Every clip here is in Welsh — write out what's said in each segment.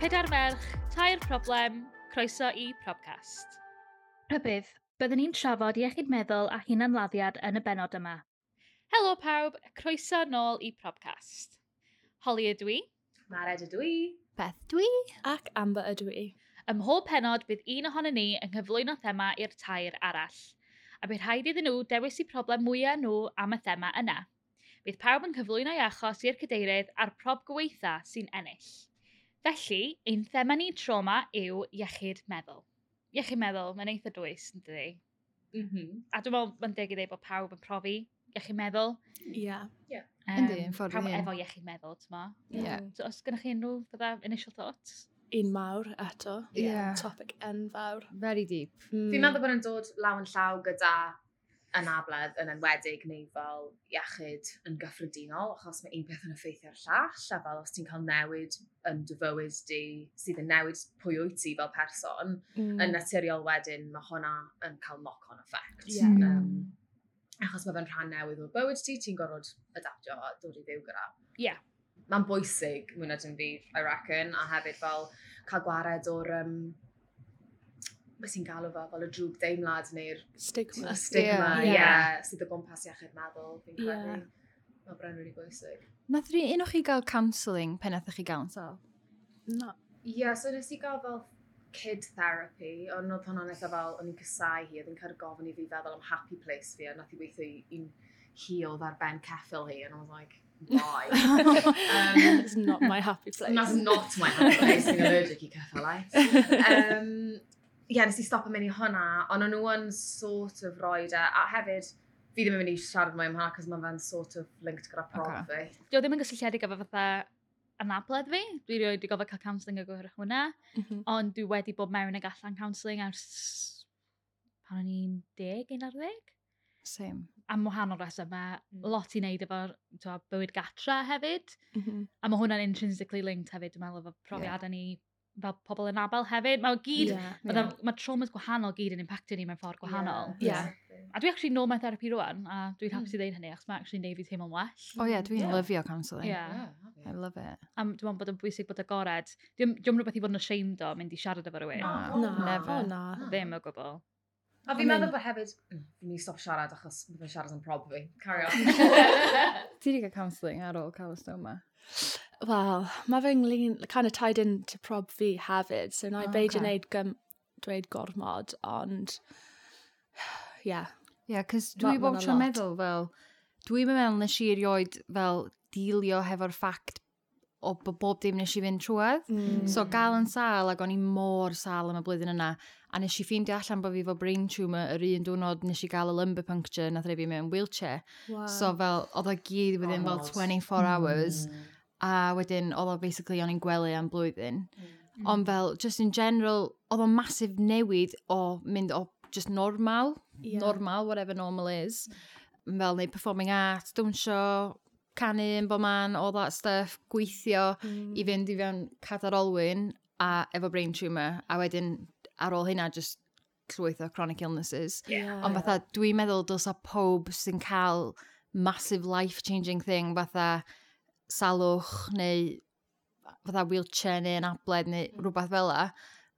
Pedair merch, tair problem, croeso i Probcast. Rhybydd, byddwn ni'n trafod iechyd meddwl a hunanladdiad yn y benod yma. Helo pawb, croeso nôl i Probcast. Holi ydw i. Mared ydw i. Beth dwi? Ac Amber ydw i. Ym mhob penod bydd un ohono ni yn cyflwyno thema i'r tair arall. A bydd rhaid iddyn nhw dewis eu problem mwyaf nhw am y thema yna. Bydd pawb yn cyflwyno ei achos i'r cadeirydd a'r prob gweitha sy'n ennill. Felly, ein thema ni troma yw iechyd meddwl. Iechyd meddwl, mae'n eitha dwys, yn dydi? Mm -hmm. A dwi'n meddwl, mae'n deg i ddeud bod pawb yn profi iechyd meddwl. Ie. Yeah. Yndi, yn ffordd Pawb ie. efo iechyd meddwl, ti'n ma? Ie. So, os gynnwch chi unrhyw fydda initial thoughts? Un mawr eto. Ie. Hmm. Topic enfawr. Very deep. Mm. Fi'n meddwl bod yn dod law yn llaw gyda yn abledd yn enwedig neu fel iechyd yn gyffredinol achos mae un peth yn effeithio ar llall a fel os ti'n cael newid yn dy fywyd di sydd yn newid pwy wyt ti fel person Hmm. Mm. yn naturiol wedyn mae hwnna yn cael knock-on effect. Ie. Hmm. Um, achos mae fe'n rhan newydd o'r bywyd ti, ti'n gorfod adaptio a dod i fyw gyda. Ie. Mae'n bwysig mwy na dim byd, I reckon, a hefyd fel cael gwared o'r... Um, Mae sy'n galw fe fel y drwg deimlad neu'r Stigma. stigma, Ie. ie, sydd o gwmpas iechyd meddwl, fi'n Ie. credu. Mae bren really bwysig. Nath rhi un o'ch chi gael counselling pen nath chi gael yn sal? Na. Ie, yeah, so nes i gael fel kid therapy, ond oedd hwnna'n eitha fel, o'n i'n cysau hi, oedd yn cael gofyn i fi feddwl am happy place fi, a nath i weithio i- i'n hi oedd ar ben ceffil hi, and I was like, why? um, It's not my happy place. that's not my happy place, fi'n allergic i ceffylau. Um, Ie, yeah, nes i stop yn mynd i hwnna, ond o'n nhw yn sort of roed e, a hefyd, fi ddim yn mynd i siarad mwy am hwnna, cos mae fe'n sort of linked gyda prof fi. Dio ddim yn gysylltiedig efo fatha anabledd fi. Dwi rioed wedi gofod cael counselling o gwrach hwnna. Mm-hmm, Mhm. Ond dwi wedi bod mewn ag allan counselling ers pan o'n i'n deg, un ar ddeg. Same. Am wahanol resymau, Hmm. Mm. lot i wneud efo t'wo, bywyd gatra hefyd. mm-hmm. Mhm. A mae hwnna'n intrinsically linked hefyd, dwi'n meddwl, efo profiadau ni fel pobl yn abel hefyd. Mae gyd, Ie. yeah. mae traumas gwahanol gyd yn impactio ni mewn ffordd gwahanol. Ie. Hmm. exactly. A dwi actually nôl mewn therapi rwan, a dwi'n hapus i ddeud hynny, achos mae actually neud fi teimlo'n well. O ie, Oh, dwi'n Yeah. lyfio counselling. Ie. Yeah. I love it. A m- dwi'n meddwl bod yn bwysig bod agored. Dwi'n dwi'n rhywbeth i fod yn ashamed o mynd i siarad efo rhywun. No. Na. Never. O, na. No. Ddim o gwbl. A I fi'n meddwl mean- bod hefyd, Mm, fi'n mynd i stop siarad achos bydd yn siarad yn prob fi. Carry on. Ti wedi cael counselling ar ôl cael y stoma? Wel, mae fe ynglyn, kind of tied in to prob fi hefyd, so na i O, beidio ocê. wneud gym, dweud gormod, ond, ie. Yeah. Ie, yeah, cys Ma- dwi ma' bob na tro'n lot. meddwl fel, dwi'n meddwl nes i erioed fel dealio hefo'r ffact o bo- bob dim nes i fynd trwedd. Mm. So gael yn sal ac o'n i mor sal am y blwyddyn yna a nes i ffeindio allan bod fi fo brain tumour yr un diwrnod nes i gael y lumbar puncture nath rhaid fi mewn wheelchair. Wow. So fel, oedd o gyd within fel God. 24 hours Mm. a wedyn oedd o basically o'n i'n gwely am blwyddyn. Ond fel, just in general, oedd o massive newid o mynd o just normal, Ie. normal, whatever normal is, fel neu performing art, dawnsio, canu yn bo man, all that stuff, gweithio, Mm. i fynd i fewn cadar olwyn a efo brain tumour, a wedyn ar ôl hynna just llwyth o chronic illnesses. Yeah. Ond fatha, dwi'n meddwl dylsa pob sy'n cael massive life-changing thing, fatha salwch neu fatha wheelchair neu yn abled neu rhywbeth fel la,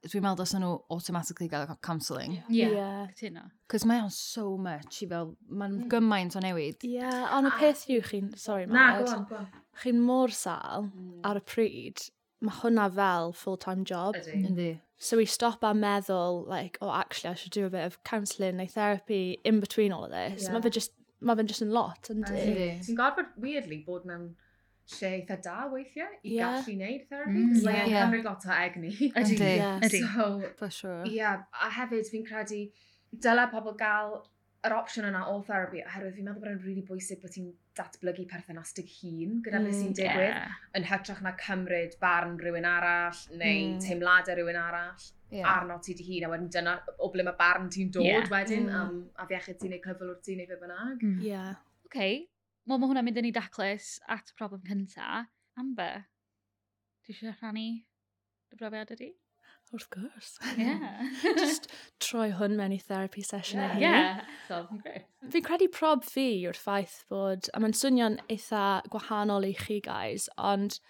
dwi'n meddwl dylsa nhw automatically gael counselling. Ie. Ie. Cytuno. Cos mae o'n so much i fel, mae'n gymaint o newid. Ie, ond y peth yw chi'n, sorry Ah. Na, Mared, go on, go on. chi'n mor sal ar y pryd, mae hwnna fel full-time job. Ydy. Yndi. So we stop our meddwl, like, oh, actually, I should do a bit of counselling neu therapy in between all of this. Ie. Mae fe just, mae fe'n just yn lot, yndi? Yndi. Ti'n gorfod weirdly bod mewn lle eitha da weithiau i Ie. gallu neud therapy. Mm, Mm, ie. yeah. Ie. Mae'n cymryd lot o egni. Ydy. Ie. Ydy. So, For sure. ie, yeah, a hefyd fi'n credu dyle pobl gael yr opsiwn yna o therapy oherwydd fi'n meddwl bod yn rili really bwysig bod ti'n datblygu perthynas dy hun gyda mm, Mm, beth sy'n digwydd Ie. yn hytrach na cymryd barn rhywun arall neu Mm. mm. teimladau rhywun arall Hmm. Ie. arno ti dy hun a wedyn dyna o ble mae barn ti'n dod Ie. yeah. wedyn Hmm. Mm. am, a fiechyd ti'n neud cyfyl wrth ti'n neud fe bynnag. Mm. Ie. OK. Wel, mae hwnna'n mynd yn ei daclus at y problem cynta. Amber, dwi eisiau rhannu dy brofiad ydi? Wrth gwrs. Ie. just troi hwn mewn i therapy session Ie. yeah. Ie. So, yn great. Fi'n credu prob fi yw'r ffaith bod, a mae'n swnio'n eitha gwahanol i chi guys, ond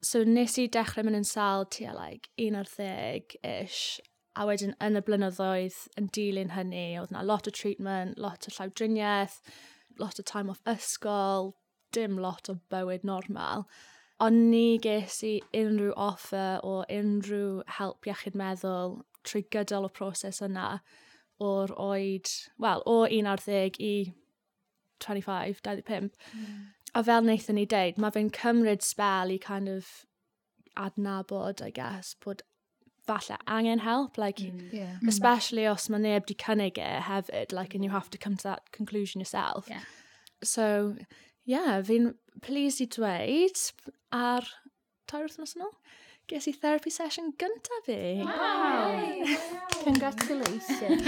So nes i dechrau mynd yn sal tua like 11-ish a wedyn yn y blynyddoedd yn dilyn hynny, oedd na lot o treatment, lot o llawdriniaeth, lot o time off ysgol, dim lot o bywyd normal. Ond ni ges i unrhyw offer o unrhyw help iechyd meddwl trwy gydol y proses yna o'r oed, wel, o 11 i 25, 25. A fel wnaethon ni deud, mae fe'n cymryd spel i kind of adnabod, I guess, bod falle angen help, like, Yeah. especially os mae neb di cynnig e hefyd, like, and you have to come to that conclusion yourself. Yeah. So, yeah, fi'n pleased i dweud ar tair wythnos yn ôl, ges i therapy session gyntaf fi. Congratulations.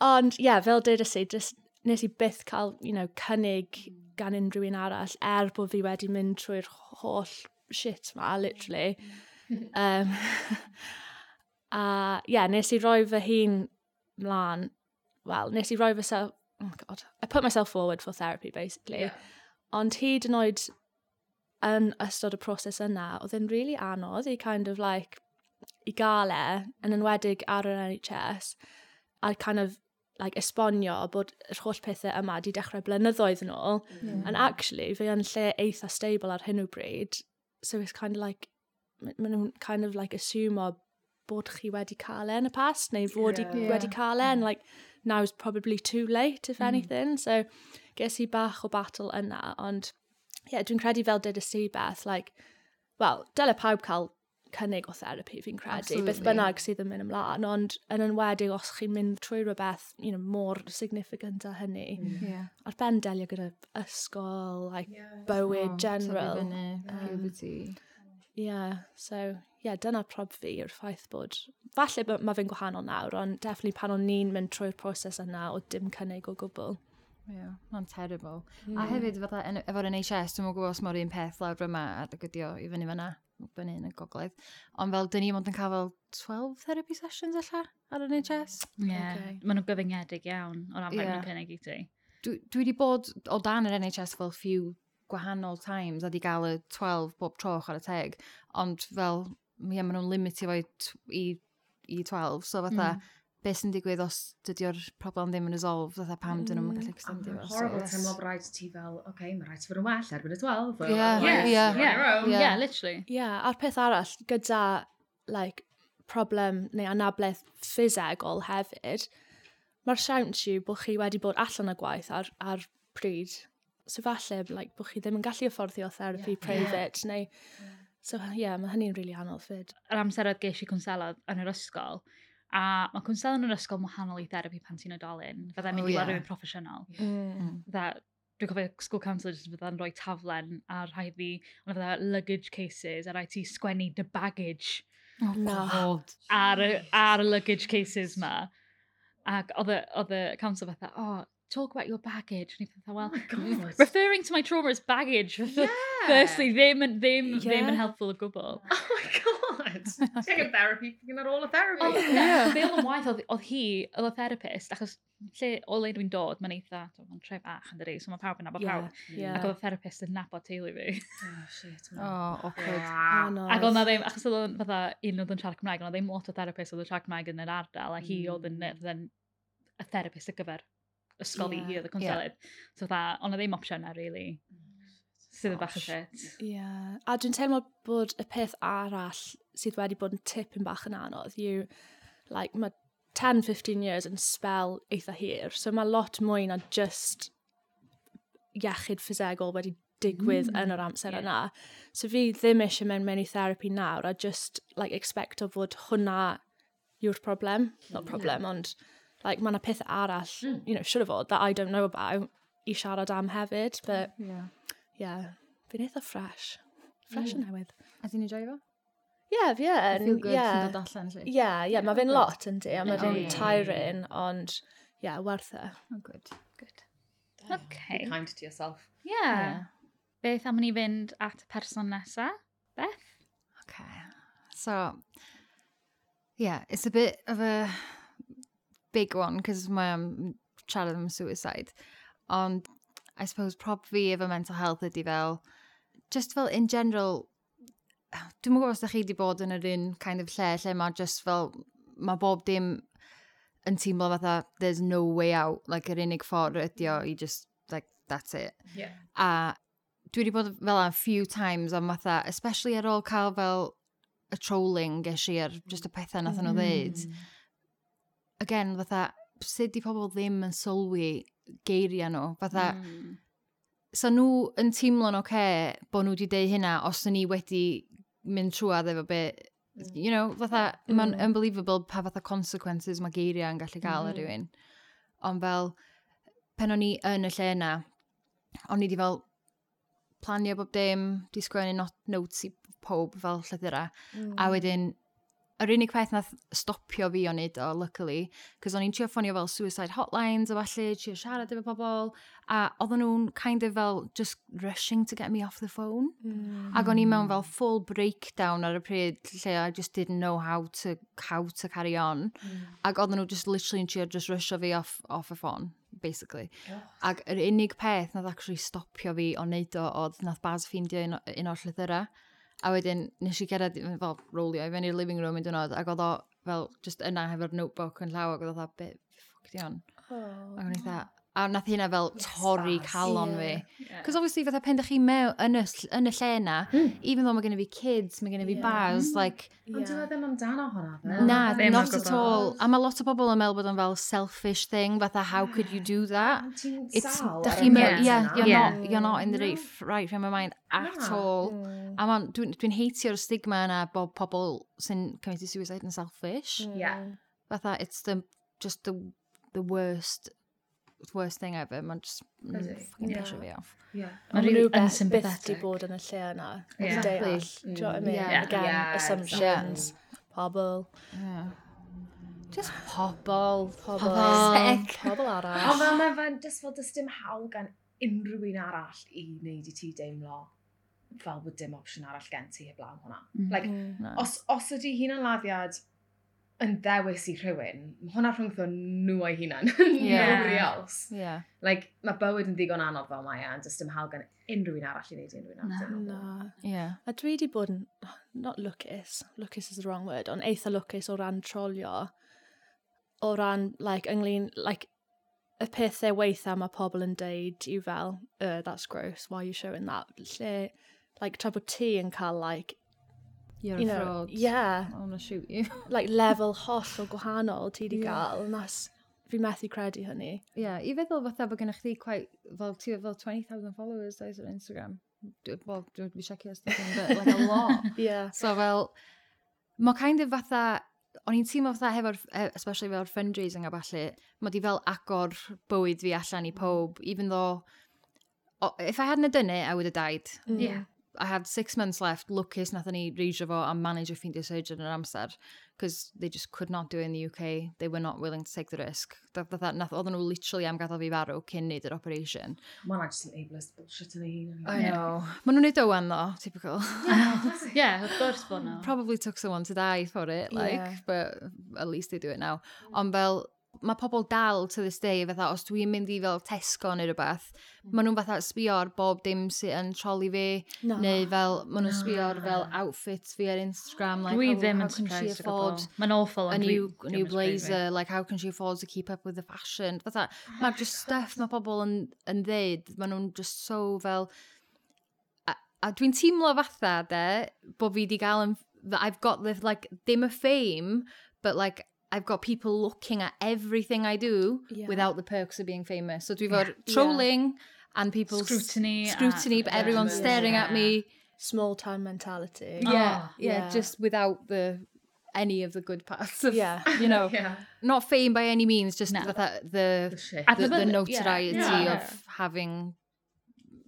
Ond, ie, yeah, fel dydys i, just, nes i byth cael, you know, cynnig gan unrhyw un arall, er bod fi wedi mynd trwy'r holl shit ma, literally. um, a, ie, yeah, nes i roi fy hun mlaen, well, nes i roi fy self, oh god, I put myself forward for therapy, basically. Yeah. Ond hyd yn oed yn ystod y proses yna, oedd yn really anodd i kind of like, i gael e, yn enwedig ar yr NHS, a kind of like esbonio bod yr holl pethau yma di dechrau blynyddoedd yn ôl. And actually, fe yn lle eitha stable ar hyn o bryd. So it's kind of like, ma- ma nhw'n kind of like assumo bod chi wedi cael e yn y past, neu fod yeah. Yeah. wedi cael e, and like, now's probably too late, if anything. So ges i bach o battle yna, ond yeah, dwi'n credu fel dyd y si beth, like, well, dyle pawb cael cynnig o therapi fi'n credu, beth Absolutely. bynnag sydd yn mynd ymlaen, ond yn enwedig os chi'n mynd trwy rhywbeth, you know, mor significant a hynny, Mm. Yeah. ar ben delio gyda ysgol, like, bywyd general. Puberty. Yeah, so, yeah, dyna prob fi yw'r ffaith bod, falle b- mae fe'n gwahanol nawr, ond definitely pan o'n ni'n mynd trwy'r proses yna o dim cynnig o gwbl. Yeah, mae'n terrible. Mm. A hefyd, fatha, en- efo'r NHS, dwi'n mwyn gwybod os mae'r un peth lawr yma a dy gydio i fyny fyna, fyny yn y gogledd. Ond fel, dyn ni ond yn cael fel 12 therapy sessions alla ar NHS. Yeah. Okay. Maen nhw'n gyfyngedig iawn o ran yeah. Yeah. yn cynnig i ti. Dwi, dwi wedi bod o dan yr NHS fel few gwahanol times a di gael y 12 bob troch ar y teg. Ond fel, ie, maen nhw'n limitio fo i, tw- i, i 12. So fatha, mm. beth sy'n digwydd os dydio'r problem ddim yn resolved, fatha pam dyn nhw'n gallu A extendio mae'n fo. So horrible that's- teimlo bod rhaid i ti fel, oce, okay, mae rhaid i fod yn well erbyn y "Oh, 12. Well, Yeah, otherwise yeah. you're on your own. Yeah, Yeah. literally. Yeah, a'r peth arall, gyda, like, problem neu anabledd ffisegol hefyd, mae'r siawns yw bod chi wedi bod allan y gwaith ar, ar pryd. So falle, like, bod chi ddim yn gallu afforddio therapy yeah. private, neu... So, yeah, mae hynny'n really anodd fyd. Yr amseroedd geis i cwnsalodd yn yr ysgol, a mae cwnsel yn yr ysgol yn wahanol i therapi pan ti'n oedolyn, fydda'n mynd Oh, i yeah. weld rhywun proffesiynol. Mm. Fydda, dwi'n cofio school counsellor jyst fydda'n rhoi taflen a rhaid fi, ond fydda luggage cases, a rhaid ti sgwennu dy baggage Oh, Na. God. ar, y- ar y luggage cases ma. Ac oedd y- oedd y counsel fatha, oh, talk about your baggage. And i fatha, well, Oh God. referring to my trauma as baggage. Yeah. Firstly, ddim, yn- ddim, yeah. ddim yn helpful o gwbl. Oh my god. Check in therapy, fucking ar ôl y therapy. Oh, Ond yeah. fel yn waith oedd, oedd hi, oedd y therapist, achos lle o le dwi'n dod, mae'n eitha, mae'n tref ach yn dydi, so mae pawb yn nabod Yeah, pawb. Mm. Ac yeah. oedd y therapist yn nabod teulu fi. Oh, shit. O, man. Oh, awkward. Wow. Ac oedd na ddim, achos oedd o'n fatha un oedd yn siarad Cymraeg, ond oedd ddim lot o therapist oedd yn siarad Cymraeg yn yr ardal, a hi Mm. oedd yn, oedd yn y therapist ar gyfer ysgol fi, Ie, hi oedd y conselydd. So fatha, ond oedd ddim opsiwn na, really. Mm. Sydd yn Oh, bach o shit. Yeah. A dwi'n teimlo bod y peth arall sydd wedi bod yn tipyn bach yn anodd yw, like, mae 10-15 years yn spel eitha hir, so mae lot mwy na just iechyd ffisegol wedi digwydd yn yr amser ie. yna. So fi ddim eisiau mewn mewn i therapi nawr a just, like, expecto fod hwnna yw'r problem. Not problem, ond, like, mae yna peth arall, you know, should have fod, that I don't know about, i siarad am hefyd, but Yeah. yeah, fi'n eitha fresh. Fresh yn newydd. A ti'n enjoy fo? Mm. Ie, fi I yn. feel good sy'n Ie, dod allan, lle. Ie, ie, mae fe'n lot yn di, a mae Yndi. fe'n tiring, ond ie, werth e. Oh, good. Good. Okay. Be kind to yourself. Yeah. Beth am ni fynd at y person nesa? Beth? Okay. So, yeah, it's a bit of a big one because my um, child am suicide. Ond I suppose prob fi efo mental health ydy fel, just fel in general, dwi'n mwyn gwybod os da chi wedi bod yn yr un kind of lle lle mae just fel, mae bob dim yn teimlo fatha, there's no way out, like yr unig ffordd ydi o, you just, like, that's it. Yeah. A dwi wedi bod fel a few times am fatha, especially ar ôl cael fel y trolling gesh i ar just y pethau nath nhw ddeud. Mm. Again, fatha, sut di pobl ddim yn sylwi geiriau nhw? Fatha, so nhw yn teimlo'n oce okay bod nhw wedi deud hynna os o'n ni wedi mynd trwad efo be, you know, fatha, mm. mae'n unbelievable pa fatha consequences mae geiriau yn gallu gael mm. ar rywun. Ond fel, pen o'n i yn y lle yna, o'n i wedi fel planio bob dim, di sgwennu not notes i pob fel llythyrau. Mm. Hmm. A wedyn, yr unig peth nath stopio fi o wneud o, luckily, cos o'n i'n trio ffonio fel suicide hotlines a falle, trio siarad efo pobl, a oedden nhw'n kind of fel just rushing to get me off the phone. Mm. Ac o'n i mewn fel full breakdown ar y pryd lle I just didn't know how to, how to carry on. Mm. Ac oedden nhw just literally yn trio just rusho fi off, off y ffôn, basically. Ac yr unig peth nath actually stopio fi o wneud o oedd nath Baz ffeindio un, o- un o'r llythyrau. A wedyn nes i gerad i- fel rolio i fyny'r living room yn dynod ac oedd o fel just yna hefo'r notebook yn llaw ac oedd o dda bit ffwc di on. Oh, Ac o'n i dda. A nath hynna fel torri Baz. calon fi. Yeah. Cos obviously fatha pen dych chi mewn yn y, ll- yn y lle yna, Hmm. even though mae gen i fi kids, mae gen i fi Ie. bars, like, Ond dyw e ddim amdano hwnna. Oh, fe? na, ddim not o at all. A mae lot o bobl yn meddwl bod o'n fel selfish thing, fatha how could you do that? Ond ti'n It's, sal dych ar chi y mewn, peth yeah, yna. you're, Yeah. Not, you're not in the No. right, right frame of mind at Na. all. Mm. A man, dwi'n dwi heitio'r stigma yna bod pobl sy'n committed suicide yn selfish. Mm. Yeah. Fatha, it's the, just the, the worst, the worst thing ever. Mae'n just, mm, Ydi. fucking Yeah. pissio fi off. Yeah. Mae rili nhw beth byth di unsympathetic. bod yn y lle yna. Ie. Yeah. Exactly. Mm. Deall. Do you know what I mean? Yeah. Again, Yeah, assumptions. Pobl. Yeah. Just pobl. Pobl. Sick. Pobl Ond fel arall. mae fe'n just fel dys dim hawl gan unrhyw un arall i wneud i ti deimlo fel bod dim opsiwn arall gen ti heblaw hwnna. Mm. Like, os, os ydy hunan laddiad yn ddewis i rhywun, mae hwnna rhwngtho nhw o'i hunan, Yeah. nobody else. Yeah. Like, mae bywyd yn ddigon anodd fel mae e, a just dim hawl gan unrhyw un arall i wneud i unrhyw un arall. Na. Yeah. A dwi wedi bod yn, not lwcus, lwcus is the wrong word, ond eitha lwcus o ran trolio, o ran, like, ynglyn, like, y pethau weithiau mae pobl yn deud i fel, uh, that's gross, why are you showing that? Lle, like, tra bod ti yn cael, like, You're you a know, fraud. yeah, I'm gonna shoot you. like, level holl o gwahanol ti wedi gael, and that's, fi methu credu hynny. Yeah, i feddwl fatha bod gennych chi quite, fel ti efo 20,000 followers does ar Instagram. Dwi- Wel, dwi'n dwi siacio os dwi'n but like a lot. Yeah. So fel, mae kind of fatha, o'n i'n teimlo fatha hefo'r, eh, especially fel fundraising a falle, mae di fel agor bywyd fi allan i Mm. pob, even though, o- if I hadn't have done it, I would have died. Mm. Yeah. I had six months left, lwcus nathon ni reisio fo a manage a ffeindio surgeon yn yr amser, because they just could not do it in the UK, they were not willing to take the risk. That, that, that, nath, oedden nhw literally am gadael fi farw cyn neud yr operation. Mae hwnna just yn ableist bullshit yn ei hunan. I know. Oh. Ma nhw'n neud owan ddo, typical. Yeah, wrth gwrs bod nhw. Probably took someone to die for it, like, Yeah. but at least they do it now. Ond fel, mae pobl dal to this day, fatha, os dwi'n mynd i fel Tesco neu rhywbeth, ma nhw'n fatha sbio ar bob dim sydd yn troli fi, No. neu fel, ma nhw'n sbio ar fel outfits fi ar Instagram, like, Dwi oh, ddim how yn can she surprised o afford gwbl. Mae'n awful. a ond dwi- new, dwi'm new yn surprised. blazer, like how can she afford to keep up with the fashion? Fatha, Oh mae just stuff mae pobl yn, yn ddeud, mae nhw'n just so fel... A, a dwi'n teimlo fatha, de, bod fi wedi gael yn... that I've got the, like, dim y fame, but like, I've got people looking at everything I do Yeah. without the perks of being famous. So dwi fod trolling and people... Scrutiny a- Scrutiny, but Yeah. everyone's staring at me. Small town mentality. Oh, Yeah, yeah, yeah. just without the any of the good parts of, Yeah. you know, Yeah. not fame by any means, just No. the, the, Shit. A- the, the Adnabod- notoriety yeah, yeah. of having,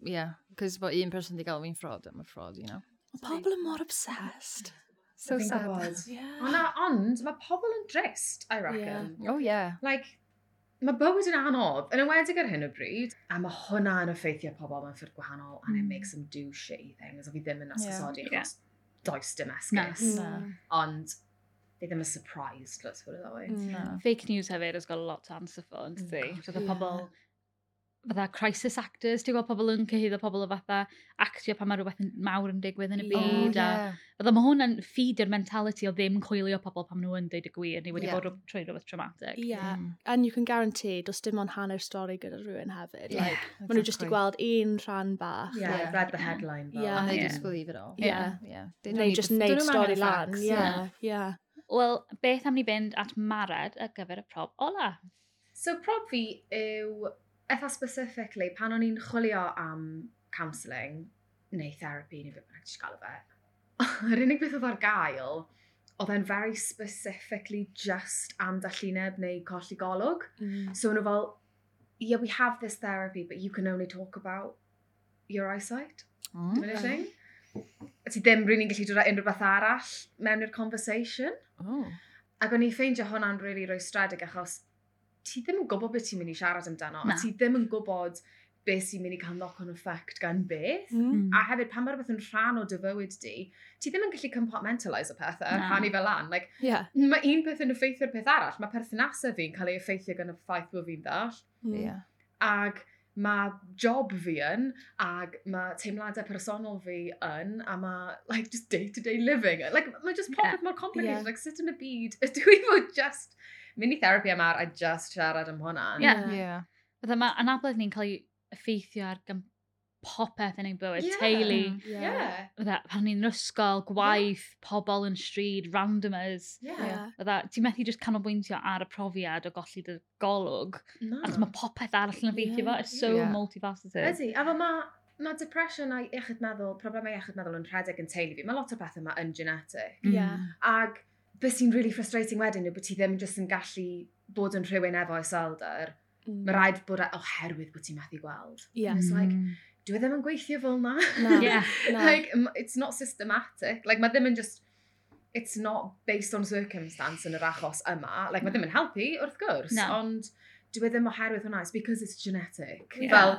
yeah, because but un person di gael fi'n fraud, I'm a fraud, you know. Pobl yn mor obsessed. So Fi'n sad. gwbod. Yeah. Ond na- Ond mae pobl yn drist, I reckon. Yeah. Oh yeah. Like, mae bywyd yn anodd, yn ymwedig ar hyn o bryd, a mae hwnna yn effeithio pobl mewn ffyrdd gwahanol, and it makes them do shitty things, a fi ddim yn asgysodi Yeah. achos does dim Na. esgus. Mm. Ond, fi ddim yn surprised, let's put it that way. Mm. Oh, Fake news hefyd has got a lot to answer for, yn tydi? God, So the yeah. pobl fatha crisis actors, ti'n gweld pobl yn cyhyddo pobl o fatha actio pan mae rhywbeth yn mawr yn digwydd yn y Oh, Ie. byd. O, Yeah. ie. A fatha mae hwnna'n ffidio'r mentality o ddim coelio pobl pan maen nhw yn dweud y gwir, ni wedi Ie. yeah. bod rhw- trwy rhywbeth traumatic. Hmm. Yeah. Mm. And you can guarantee, does dim ond hanner stori gyda rhywun hefyd. Ie, Yeah, like, maen nhw jyst i exactly. gweld un rhan bach. Yeah, Yeah. I've read the headline. fel. Yeah. And they Yeah. just believe it all. Yeah. Yeah. They don't Neu need just the- neud don't know how stori many lan. facts. Yeah, yeah. Wel, beth am ni fynd at marad ar gyfer y prob ola? So prob fi yw, eitha specifically, pan o'n i'n chwilio am counselling, neu therapy, neu beth bynnag ti'n gael o fe, yr unig beth oedd ar gael, oedd e'n very specifically just am dallineb neu colli golwg. Mm. So o'n nhw fel, yeah, we have this therapy, but you can only talk about your eyesight. Mm. Okay. Thing. A ti ddim rydyn ni'n gallu dod â unrhyw beth arall mewn i'r conversation. Oh. Ac o'n i ffeindio hwnna'n rili really rwystredig achos ti ddim yn gwybod beth ti'n mynd i siarad amdano. Na. A ti ddim yn gwybod beth sy'n mynd i cael knock-on effect gan beth. Hmm. Mm. A hefyd, pan mae'r beth yn rhan o dy fywyd di, ti ddim yn gallu compartmentalise y pethau, Na. rhannu fel lan. Like, Yeah. mae un peth yn effeithio'r peth arall. Mae perthnasau fi'n cael ei effeithio gan y ffaith bod fi'n ddall. Mm. Yeah. Ac mae job fi yn, ac mae teimladau personol fi yn, a mae, like, just day-to-day living. Like, mae just popeth yeah. mor complicated. Ie. Yeah. Like, sut yn y byd ydw i fod just mynd i therapy am ar a just siarad am hwnna. Ie. Mm. Yeah. Yeah. Fydda mae anabledd ni'n cael ei effeithio ar gan popeth yn ein bywyd, Ie. yeah. teulu, Hmm. Yeah. fydda pan ni'n ysgol, gwaith, pobl yn stryd, randomers. Yeah. Fydda, ti'n methu just canolbwyntio ar y profiad o golli dy golwg, No. achos mae popeth arall yn effeithio fo, it's so Hmm. Ie. multifaceted. Ydy, a fel mae ma depression a iechyd meddwl, problemau iechyd meddwl yn rhedeg yn teulu fi. Mae lot o'r pethau yma yn genetic. Yeah. Ac beth sy'n really frustrating wedyn yw bod ti ddim just yn gallu bod yn rhywun efo iselder. Mm. Mae rhaid bod e oherwydd bod ti'n methu gweld. Yeah. It's like, Mm. dwi ddim yn gweithio fel na. um, No. Yeah. No. Mm. like, m- it's not systematic. Like, mae ddim yn just, it's not based on circumstance yn yr achos yma. Like, mae ddim yn helpu, wrth gwrs. Na. Ond dwi ddim oherwydd hwnna. It's because it's genetic. Ie. Fel,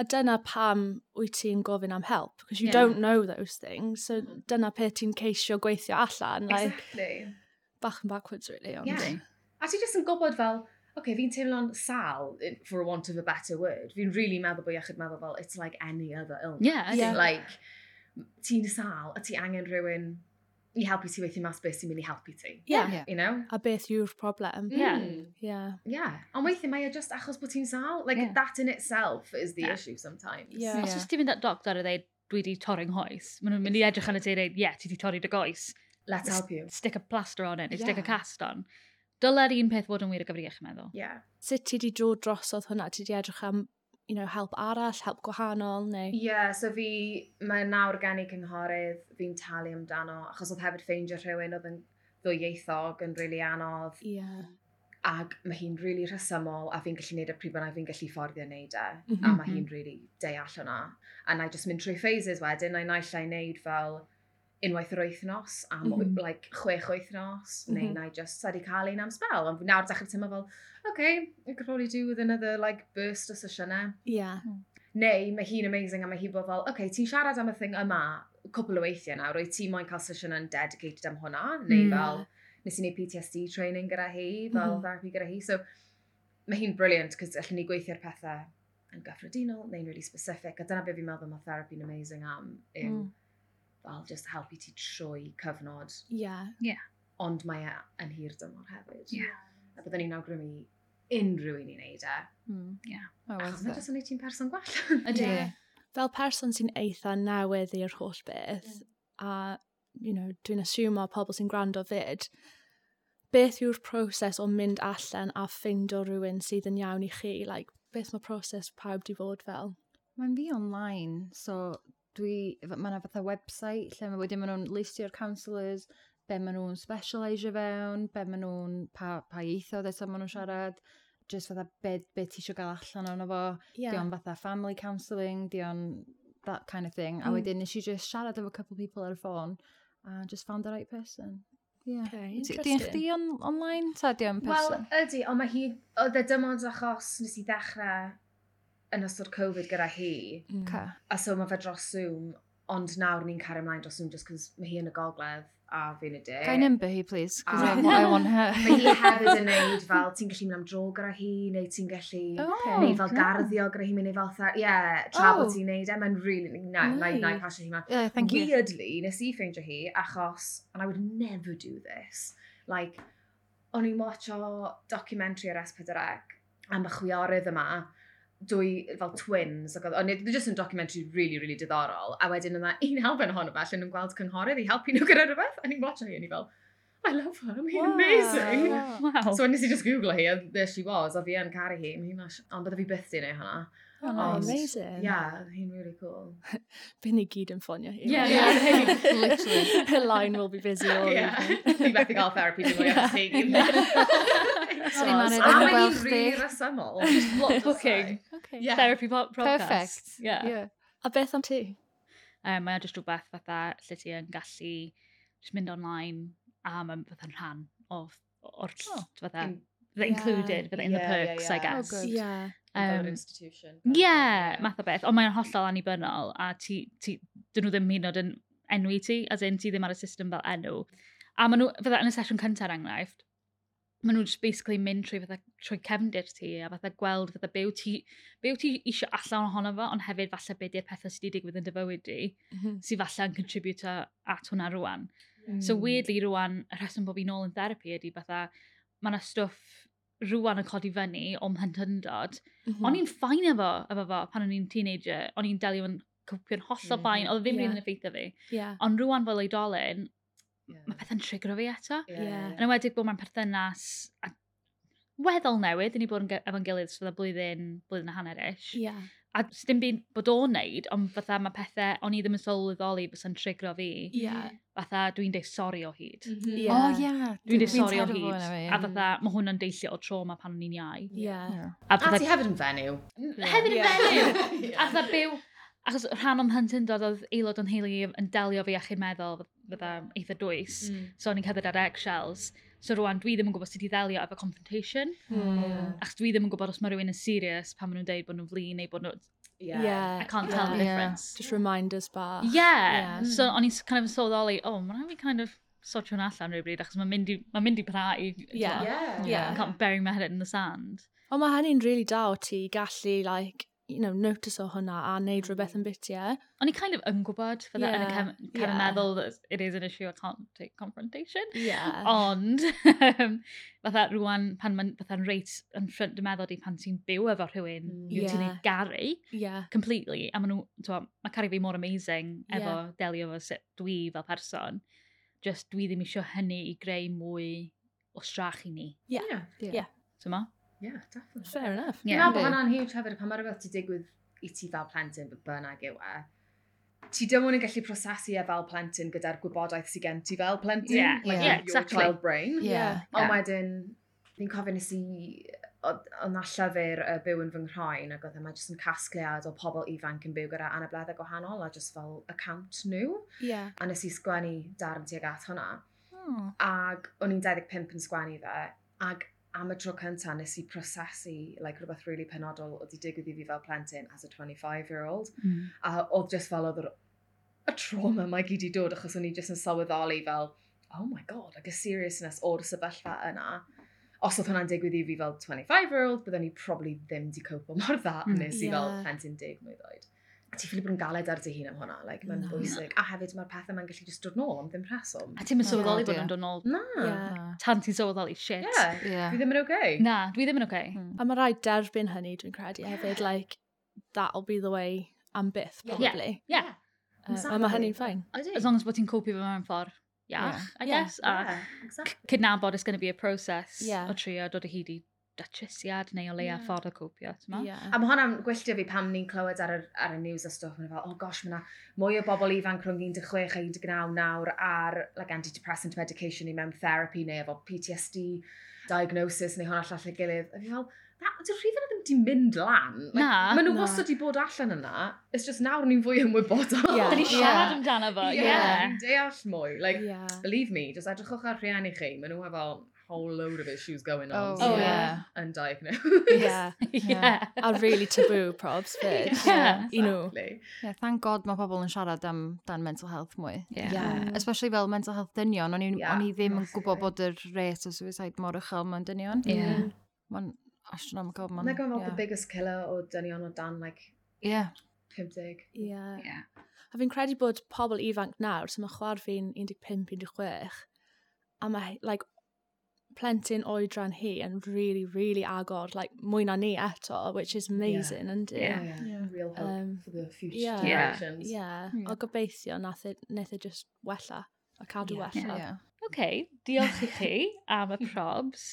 a dyna pam wyt ti'n gofyn am help, because you Ie. don't know those things, so dyna pe ti'n ceisio gweithio allan, like, exactly. bach yn backwards really, ond... Yeah. A ti jyst yn gwybod fel, okay, fi'n teimlo'n sal, i- for want of a better word. Fi'n really meddwl bod iechyd meddwl fel, it's like any other illness. Yeah, Yeah. Like, ti'n sal, a ti angen rhywun i helpu ti weithio mas beth sy'n mynd i helpu ti. Yeah. Yeah. You know? A beth yw'r problem? Ie. Mm. Yeah. Yeah. Ond weithiau mae e just achos bod ti'n sal. Like, Yeah. that in itself is the Yeah. issue sometimes. Yeah. Os oes ti'n mynd at doctor a dweud, dwi di torri'n hoes, maen nhw'n mynd i edrych arno ti a dweud, ie, ti di torri dy goes, Let's help you. stick a plaster on it, neu stick a Yeah. cast on. Dyla'r un peth fod yn wir y gyfer iechyd meddwl. Yeah. Sut ti di dod drosodd hwnna? Ti di edrych am, you know, help arall, help gwahanol, neu... Yeah, so fi, mae nawr gen i cynghorydd, fi'n talu amdano, achos oedd hefyd ffeindio rhywun oedd yn ddwyieithog yn rili really anodd, Yeah. ac mae hi'n rili really rhesymol, a fi'n gallu neud y pryd bynnag fi'n gallu fforddio neud e, a Mhm. mae hi'n rili really deall hwnna. A na i just mynd trwy phases wedyn, a naill ai neud fel unwaith yr wythnos, am Mhm. like, chwech wythnos, Mhm. neu na i just sadi cael un am spel, ond fi nawr dechrau teimlo fel, okay, I could probably do with another like, burst o sesiynau. Yeah. Neu mae hi'n amazing a mae hi bod fel, oce, okay, ti'n siarad am y thing yma cwpl o weithiau nawr, oedd ti moyn cael sesiwn yn dedicated am hwnna, neu Mm. mm. fel, nes i wneud PTSD training gyda hi, fel Hmm. Mhm. mm. therapy gyda hi, so mae hi'n brilliant, cos allan ni gweithio'r pethau yn gyffredinol, neu'n really specific, a dyna beth fi'n meddwl mae therapy'n amazing am, yw, Hmm. Mm. fel, just helpu ti trwy cyfnod, Yeah. ond mae e yn hir dymor hefyd. Ie. A byddwn ni'n awgrymu unrhyw un i wneud e, Mm. Yeah. Oh, achos mae jyst yn neud ti'n person gwell. Ydy. Yeah. Fel person sy'n eitha newydd i'r holl beth, a, you know, dwi'n asiwmo pobl sy'n gwrando fyd, beth yw'r proses o mynd allan a ffeindio rhywun sydd yn iawn i chi? Like, beth mae proses pawb di fod fel? Mae'n fi online, so dwi, f- mae yna fatha website lle mae wedi maen nhw'n listio'r counsellors, be maen nhw'n specialisio fewn, be maen nhw'n, pa, pa ieithoedd eto maen nhw'n siarad, jyst fatha be, be ti eisiau gael allan o'n fo, Yeah. yeah. dion fatha family counselling, dion that kind of thing. A Mm. wedyn nes i just siarad efo couple people ar y ffôn, a just found the right person. Yeah. Okay, Ti- Di'n interesting. chdi on, online, ta dion Wel, Hmm. person? ydy, ond mae hi, oedd y dymond achos nes i ddechrau yn ystod Covid gyda hi, Mm. Ca. a so mae fe dros Zoom, ond nawr ni'n cario ymlaen dros Zoom just cos mae hi yn y gogledd, a fi'n y de. Gai number hi, please, because Eh, Ah. I, want- I want Mae hi her. hefyd yn neud fel, ti'n gallu mynd am dro gyda hi, neu ti'n gallu Okay. neu fel garddio gyda hi, neu fel ther... Ie, yeah, tra Oh. bod ti'n neud e, mae'n really... Na, na, na, i Nice. pasio hi ma. Yeah, thank you. Weirdly, nes i ffeindio hi, achos, and I would never do this, like, o'n i'n watcho documentary ar S4C am y chwiorydd yma, dwy fel twins, ac oedd, o'n i'n just yn documentary really, really diddorol, a wedyn yna un elfen ohono fe, lle nhw'n gweld cynghorydd i helpu nhw gyda rhywbeth, a ni'n watcho hi, a ni fel, I love her, I'm wow. amazing. Wow. So nes i just googlo hi, and there she was, a fi yn caru hi, mae hi mas, ond bydde fi byth di neud hwnna. Oh, Ond, amazing. Yeah, hi'n really cool. Fy ni gyd yn ffonio hi. Yeah, yeah. Literally. Her line will be busy all Yeah. Fi evening. beth i gael therapy dwi'n mwy at teg. Sorry, Mari, A ddim yn mae hi'n gweld really chdi. resymol. Booking. Okay. Yeah. Therapy po- podcast. Perfect. Yeah. Yeah. A beth am ti? Um, mae o jyst rhywbeth fatha lle ti yn gallu just mynd online a mae'n fatha'n rhan o, o'r oh. fatha, In- the included, Yeah. but in the Yeah, yeah, perks, I yeah. Oh, guess. good. Yeah. Um, institution. Ie, yeah, math o beth. Ond mae'n hollol anibynnol a ti, ti, dyn nhw ddim hyd yn oed yn enwi ti, as in ti ddim ar y system fel enw. A maen nhw, fydda yn y sesiwn cyntaf er enghraifft, maen nhw'n just basically mynd trwy fatha trwy cefndir ti a fatha gweld fatha byw ti, byw ti eisiau allan ohono fo, ond hefyd falle be di'r pethau sydd wedi digwydd yn dy fywyd di, Mm-hmm. sydd falle yn contributor at hwnna rwan. So Hmm. weirdly rwan, y rheswm bod fi'n ôl yn therapy ydy fatha, mae yna stwff rwan yn codi fyny o'm hyntyndod, Mm-hmm. O'n i'n ffain efo, efo fo, pan o'n i'n teenager, o'n i'n delio yn cwpio'n hollol Mhm. ffain, oedd ddim Ie. yeah. yn effeithio fi. Yeah. Ond rwan fel oedolyn, mae pethau'n trigger fi eto. Yeah. Yn enwedig bod mae'n perthynas a weddol newydd, i ni bod yn ge- efo'n gilydd sydd y blwyddyn, blwyddyn a hanner ish. Yeah. A dim byd bod o'n neud, ond fatha mae pethau o'n i ddim yn sylweddoli bys yn trigro fi. Yeah. Fatha dwi'n deud sori o hyd. Yeah. Oh, yeah. Mm. Dwi'n deud sori o terrible hyd. yn A efo hi. fatha, mae hwnna'n deillio o trauma pan o'n i'n iau. Yeah. Yeah. A A fatha- ti hefyd yn fenyw. Hefyd yn fenyw! A fatha byw, achos rhan o'm hyntyndod oedd aelod o'n heulu i yn delio fi achub meddwl fydda eitha dwys. Mm. So o'n i'n cedyd ar eggshells. So rwan, dwi ddim yn gwybod sut i ddelio efo confrontation. Hmm. Achos dwi ddim yn gwybod os mae rhywun yn serious pan maen nhw'n deud bod nhw'n flin neu bod nhw'n... Yeah. I can't tell the Yeah. difference. Just reminders bach. Yeah. Yeah. So o'n i'n s- kind of sylweddoli, oh, mae'n rhaid fi kind of sortio hwnna allan rhywbryd achos mae'n mynd i, ma mynd i parhau. Yeah. I Yeah. can't bury my head in the sand. Ond mae hynny'n really da o ti i gallu, like, you know, notice o hwnna a neud rhywbeth yn bit, yeah? O'n i kind of yn gwybod fydda yn y Yeah, cefn cefn yeah. meddwl that it is an issue, I can't take confrontation. Yeah. Ond, um, fatha rwan, pan mae'n fatha'n reit yn ffrant dy meddwl di pan ti'n byw efo rhywun, Mm. yw ti'n Yeah. ei garu, Yeah. completely, a maen nhw, t'wo, mae caru fi mor amazing Yeah. efo delio efo sut dwi fel person, just dwi ddim eisiau hynny i greu mwy o strach i ni, Yeah. ti'n ma? Yeah, definitely. Fair enough. Dwi'n meddwl bod Yndi. hwnna'n huge hefyd, pan mae rhywbeth ti digwydd i ti fel plentyn, bod bynnag yw e, ti dim ond yn gallu prosesu e fel plentyn gyda'r gwybodaeth sydd gen ti fel plentyn. Yeah, like yeah, your exactly. child brain. Yeah. Ond wedyn, fi'n cofio nes i, oedd oedd 'na llyfr y byw yn fy nghroen, ac oedd yma e jyst yn casgliad o pobl ifanc yn byw gyda anableddau gwahanol, a jyst fel account nhw. Yeah. A nes i sgwennu darn tuag at hwnna Oh. ag o'n i'n 25 yn sgwennu fe, ag am y tro cynta nes i prosesu like, rhywbeth really penodol oedd i digwydd i fi fel plentyn as a 25-year-old. Mm. A oedd just fel oedd yr- y trauma mae gyd i dod achos o'n i just yn sylweddoli fel, oh my god, like a seriousness o'r sefyllfa yna. Os oedd hwnna'n digwydd i fi fel 25-year-old, byddwn i probably ddim di cope mor dda Mm. nes i fel Hmm, Ie. plentyn 10 mlynedd oed. A ti'n ffili bod yn galed ar dy hun am hwnna, like, mae'n Na. bwysig. A hefyd mae'r pethau mae'n gallu just dod nôl am ddim rheswm. A ti'n mynd Oh, sylweddoli bod dear. yn dod nôl Na. Yeah. tan ti'n sylweddoli shit. Yeah. Dwi Yeah. ddim yn okay. Na, dwi ddim yn oce. Mm. A mae rhaid derbyn hynny, dwi'n credu hefyd, like, that'll be the way am byth, Yeah. probably. Yeah. Uh, A Exactly. mae hynny'n ffain. As long as bod ti'n copio fe mewn ffordd iach, I Yeah. guess. A cydnabod it's going to be a process Yeah. o trio dod o hyd i datrysiad neu o leia Yeah. ffordd o cwpio, ti'n ma? Yeah. A mae hwnna'n gwylltio fi pam ni'n clywed ar y, ar y news a stwff, mae'n fel, oh gosh, mae yna mwy o bobl ifanc rhwng 16 a 19 nawr ar like, antidepressant medication i mewn therapy neu efo PTSD diagnosis neu hwnna llall ei gilydd. A fi fel, na, dy'r rhif yna ddim di mynd lan. Na, Mae nhw na. wastad wedi bod allan yna. It's just nawr ni'n fwy ymwybodol. Yeah. Da ni Yeah. siarad amdano fo, Yeah. ie. Deall mwy. Like, Yeah. Believe me, just edrychwch ar rhieni chi, maen nhw efo whole load of issues going Oh, on. Oh, so yeah. Undiagnosed. Yeah. yeah. A really taboo probs fyd. Yeah. You know. Exactly. Yeah, thank god mae pobl yn siarad am dan mental health mwy. Yeah. Yeah. Especially fel mental health dynion, o'n i, Yeah, yeah, i ddim yn gwybod massively. bod yr rate o suicide mor uchel mewn dynion. Yeah. Mae'n astronomical. And Mae'n... they're going about yeah. the biggest killer or dynion o dan like Yeah. 50. Yeah. Yeah. A fi'n credu bod pobl ifanc nawr, so mae chwar fi'n 15-16, a mae, like, plentyn oedran hi yn really, really agor, like, mwy na ni eto, which is amazing, yeah. yndi? Yeah. Oh, yeah. Real hope Um, for the future yeah. Yeah. generations. Yeah. Yeah. O gobeithio, nath e, nath e just wella, a cadw Yeah. wella. Yeah. OK, diolch i chi am y probs.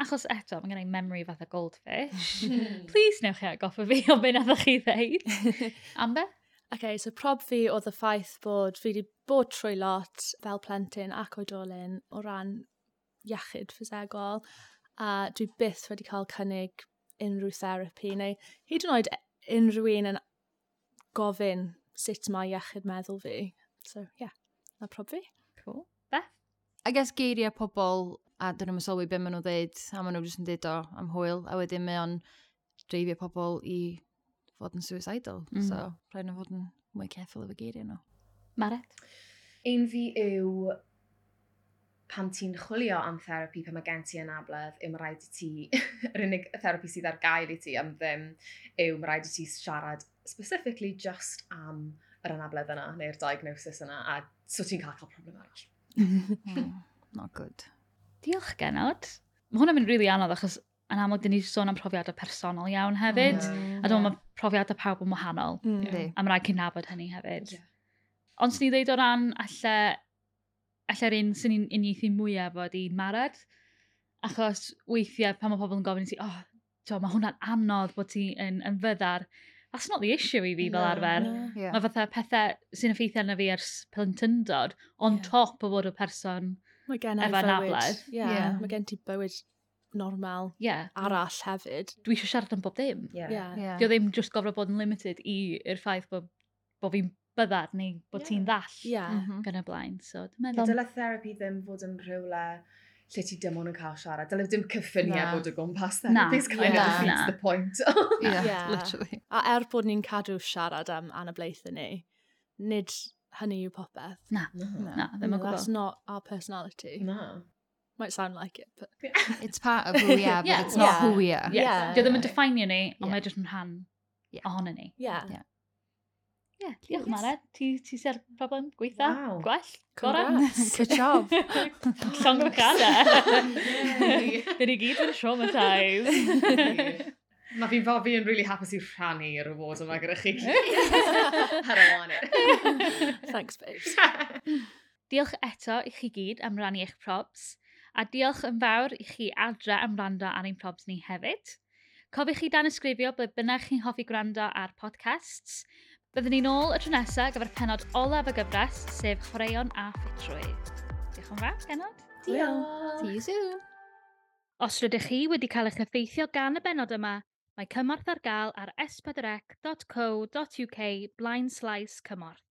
Achos eto, mae gen i memory fath a goldfish. Please newch chi agoffa fi o beth nath chi ddeud. Amber? Okay, so prob fi oedd y ffaith bod fi wedi bod trwy lot fel plentyn ac oedolyn o ran iechyd ffisegol a dwi byth wedi cael cynnig unrhyw therapi neu hyd yn oed e-, unrhyw un yn gofyn sut mae iechyd meddwl fi. So, yeah, na prob fi. Cool. Beth? I guess geiriau pobl, a dyn nhw'n sylwi beth maen nhw'n dweud, a maen nhw'n jyst yn dweud o am hwyl, a wedyn mae o'n dreifio pobl i fod yn suicidal. Mm. Mm. So, rhaid nhw fod yn mwy ceffil efo geiriau nhw. Maret? Un fi yw pan ti'n chwilio am therapi pan mae gen ti yn abledd, yw mae rhaid i ti, yr unig therapi sydd ar gael i ti am ddim, yw mae rhaid i ti siarad specifically just am yr anabledd yna neu'r diagnosis yna a so ti'n cael cael problem arall. Mm. Not good. Diolch genod. Mae hwnna'n mynd rili really anodd achos yn amlwg dyn ni sôn am profiadau personol iawn hefyd. Mm. A dwi'n meddwl mae profiadau pawb yn wahanol. Mm. Yndi. A mae rhaid cynabod hynny hefyd. Ie. Ond swn i ddeud o ran alla, alla'r un sy'n ni'n uniaethu mwyaf fod i marad. Achos weithiau pan mae pobl yn gofyn i ti, oh, t'o, mae hwnna'n anodd bod ti yn, yn fyddar. That's not the issue i fi fel Na, arfer. Na. Yeah. Mae fatha pethau sy'n effeithio arna fi ers plentyndod, on Ie. top o fod y person, Mae gen i Efo bywyd. anabledd. Yeah. Yeah. Mae gen ti bywyd normal ie, yeah, arall hefyd. dwi eisiau siarad am bob dim. Yeah. Yeah. Yeah. Dio ddim just gofro bod yn limited i i'r ffaith bod, bod fi'n byddar neu bod Ie. ti'n ddall Yeah. Mhm. gan y blaen. So, dwi'n A meddwl... dyle therapi ddim fod yn rhywle lle ti dim ond yn cael siarad. Dyle dim cyffiniau Na. bod o gwmpas Na. therapies kind of Na. defeats Na. the point. Yeah, Yeah. literally. A er bod ni'n cadw siarad am anablaethau ni, nid hynny yw popeth. No. Na, ddim yn No, gwybod. That's not our personality. No. Might sound like it, but It's part of who we are, Yeah. but it's not who we are. Ie, Yeah. Dio ddim yn definio ni, Ie. ond mae e jyst yn rhan Ie. ohono ni. yeah. Yeah. Ie, diolch Yes. Mara. Ti ti sy'r problem gweitha? Wow. Gwell? Gorau? Congrats. Good job. Llong o cada. Yay. Dyn ni gyd yn traumatised. Mae fi'n fod fi yn really hapus i rhannu'r award yma gyda chi. I don't want it. Thanks, babes. Diolch eto i chi gyd am rannu eich probs, a diolch yn fawr i chi adra am rando ar ein probs ni hefyd. Cofiwch chi dan ysgrifio ble bynnag chi'n hoffi gwrando ar podcasts. Byddwn ni'n ôl y tro nesaf gyfer penod olaf y gyfres, sef chwaraeon a ffitrwydd. Diolch yn fawr, genod. Diolch. See you soon. Os rydych chi wedi cael eich effeithio gan y benod yma, mae cymorth ar gael ar s4c.co.uk blaen slaes cymorth.